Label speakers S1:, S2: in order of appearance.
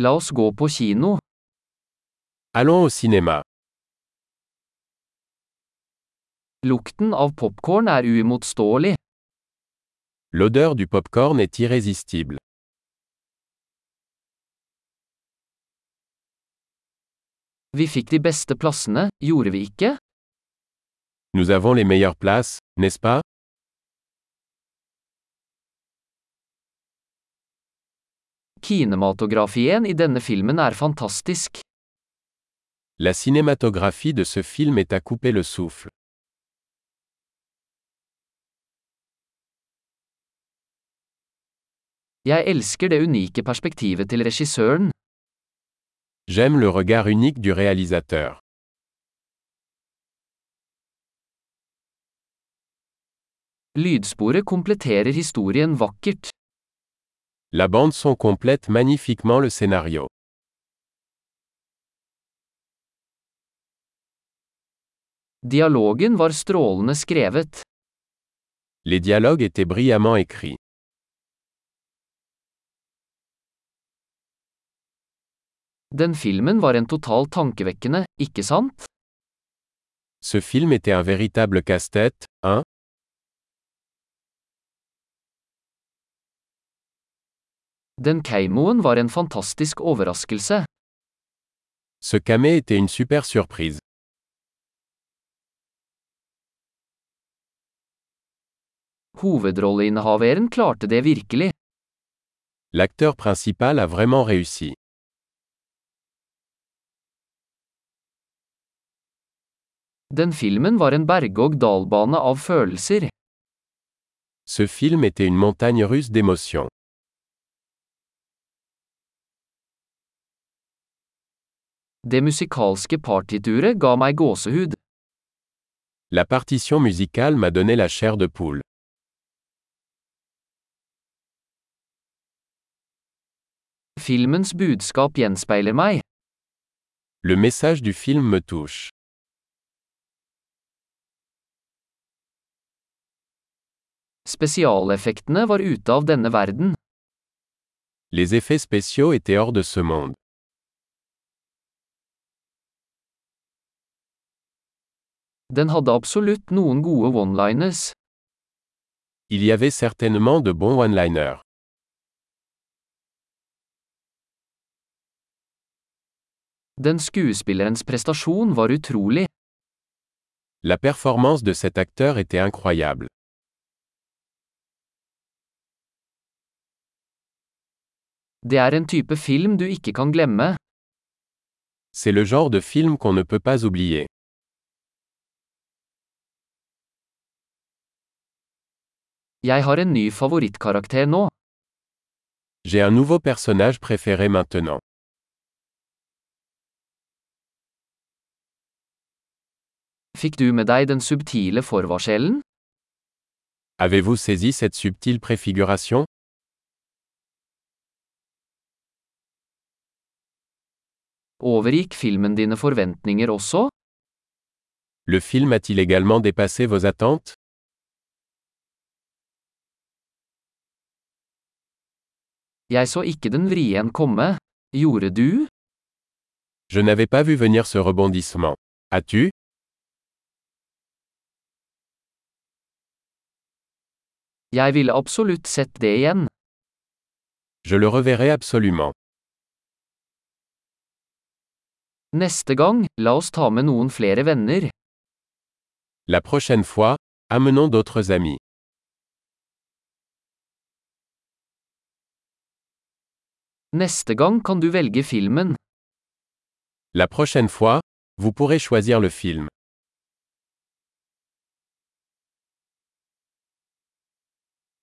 S1: La oss gå på kino.
S2: Allons au cinéma.
S1: Lukten av popkorn er uimotståelig.
S2: L'odeur du pop-corn est irrésistible.
S1: Vi fikk de beste plassene, gjorde vi ikke?
S2: Nous avons les meilleures places, n'est-ce pas
S1: Kinematografien i denne filmen er fantastisk.
S2: La cinématographie de ce film est à couper le souffle.
S1: Jeg elsker det unike perspektivet til regissøren.
S2: J'aime le regard unique du réalisateur.
S1: Lydsporet kompletterer historien vakkert.
S2: La bande son complète magnifiquement le scénario.
S1: Dialogen var strålende skrevet.
S2: Les dialogues étaient brillamment écrits.
S1: Den filmen var en total tankevekkende, ikke sant?
S2: Ce film était un véritable casse-tête, hein
S1: Den keimoen var en fantastisk overraskelse.
S2: Ce camé était une super surprise.
S1: Hovedrolleinnehaveren klarte det virkelig.
S2: L'acteur principal a vraiment réussi.
S1: Den filmen var en berg-og-dal-bane av følelser.
S2: Ce film était une montagne russe d'émotions.
S1: Det musikalske partituret ga meg gåsehud.
S2: La partition musicale m'a donné la chair de poule.
S1: Filmens budskap gjenspeiler meg.
S2: Le message du film me touche.
S1: Spesialeffektene var ute av denne verden.
S2: Les effets spéciaux étaient hors de ce monde.
S1: Den hadde absolutt noen gode one-liners.
S2: Il y avait certainement de bons one-liners.
S1: Den skuespillerens prestasjon var utrolig.
S2: La performance de cet acteur était incroyable.
S1: Det er en type film du ikke kan glemme.
S2: C'est le genre de film qu'on ne peut pas oublier.
S1: Jeg har en ny favorittkarakter nå.
S2: J'ai un nouveau personnage préféré maintenant.
S1: Fikk du med deg den subtile forvarselen?
S2: Avez-vous saisi cette subtile préfiguration
S1: Overgikk filmen dine forventninger også?
S2: Le film a-t-il également dépassé vos attentes
S1: Jeg så ikke den vrien komme. Gjorde du?
S2: Je n'avais pas vu venir ce rebondissement. As-tu
S1: Jeg ville absolutt sett det igjen.
S2: Je le reverrai absolument.
S1: Neste gang, la oss ta med noen flere venner.
S2: La prochaine fois, amenons d'autres amis.
S1: Neste gang kan du velge filmen.
S2: La prochaine fois, vous pourrez choisir le film.